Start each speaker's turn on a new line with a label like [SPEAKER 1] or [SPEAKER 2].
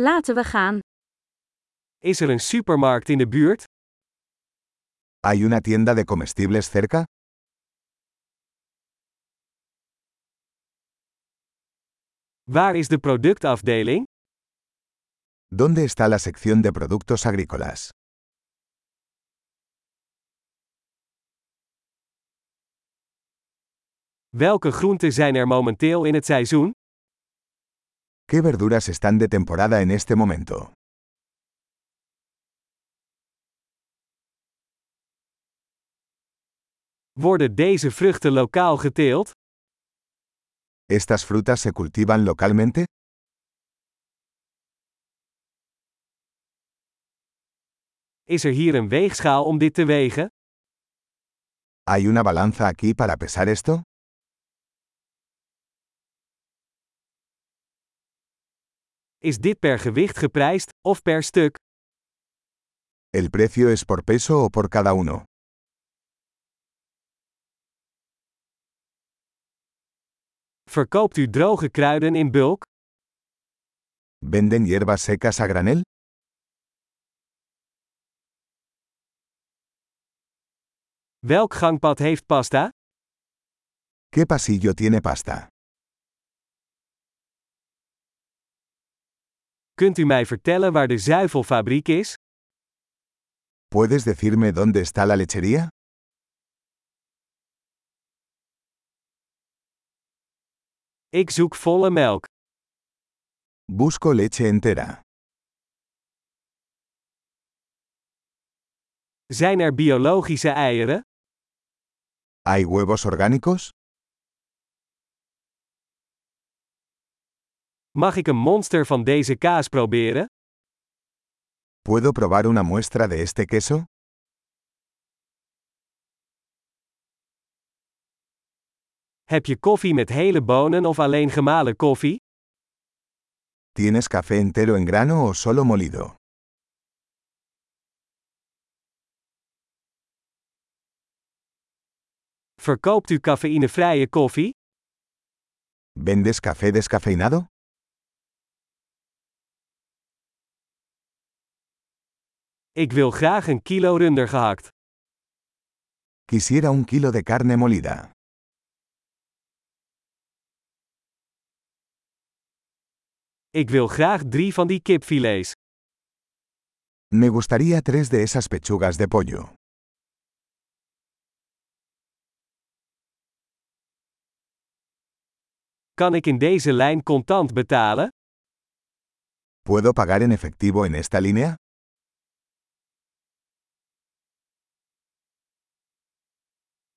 [SPEAKER 1] Laten we gaan.
[SPEAKER 2] Is er een supermarkt in de buurt?
[SPEAKER 3] ¿Hay una tienda de comestibles cerca?
[SPEAKER 2] Waar is de productafdeling?
[SPEAKER 3] ¿Dónde está la sección de productos agrícolas?
[SPEAKER 2] Welke groenten zijn er momenteel in het seizoen?
[SPEAKER 3] ¿Qué verduras están de temporada en este momento?
[SPEAKER 2] Worden deze vruchten lokaal geteeld?
[SPEAKER 3] ¿Estas frutas se cultivan localmente?
[SPEAKER 2] Is er hier een weegschaal om dit te wegen?
[SPEAKER 3] ¿Hay una balanza aquí para pesar esto?
[SPEAKER 2] Is dit per gewicht geprijsd of per stuk?
[SPEAKER 3] ¿El precio es por peso o por cada uno?
[SPEAKER 2] Verkoopt u droge kruiden in bulk?
[SPEAKER 3] ¿Venden hierbas secas a granel?
[SPEAKER 2] Welk gangpad heeft pasta?
[SPEAKER 3] ¿Qué pasillo tiene pasta?
[SPEAKER 2] Kunt u mij vertellen waar de zuivelfabriek is?
[SPEAKER 3] ¿Puedes decirme dónde está la lechería?
[SPEAKER 2] Ik zoek volle melk.
[SPEAKER 3] Busco leche entera.
[SPEAKER 2] Zijn er biologische eieren?
[SPEAKER 3] ¿Hay huevos orgánicos?
[SPEAKER 2] Mag ik een monster van deze kaas proberen?
[SPEAKER 3] ¿Puedo probar una muestra de este queso?
[SPEAKER 2] Heb je koffie met hele bonen of alleen gemalen koffie?
[SPEAKER 3] ¿Tienes café entero en grano o solo molido?
[SPEAKER 2] Verkoopt u cafeïnevrije koffie?
[SPEAKER 3] ¿Vendes café descafeinado?
[SPEAKER 2] Ik wil graag een kilo runder gehakt.
[SPEAKER 3] Quisiera un kilo de carne molida.
[SPEAKER 2] Ik wil graag drie van die kipfilets.
[SPEAKER 3] Me gustaría tres de esas pechugas de pollo.
[SPEAKER 2] Kan ik in deze lijn contant betalen?
[SPEAKER 3] ¿Puedo pagar en efectivo en esta línea?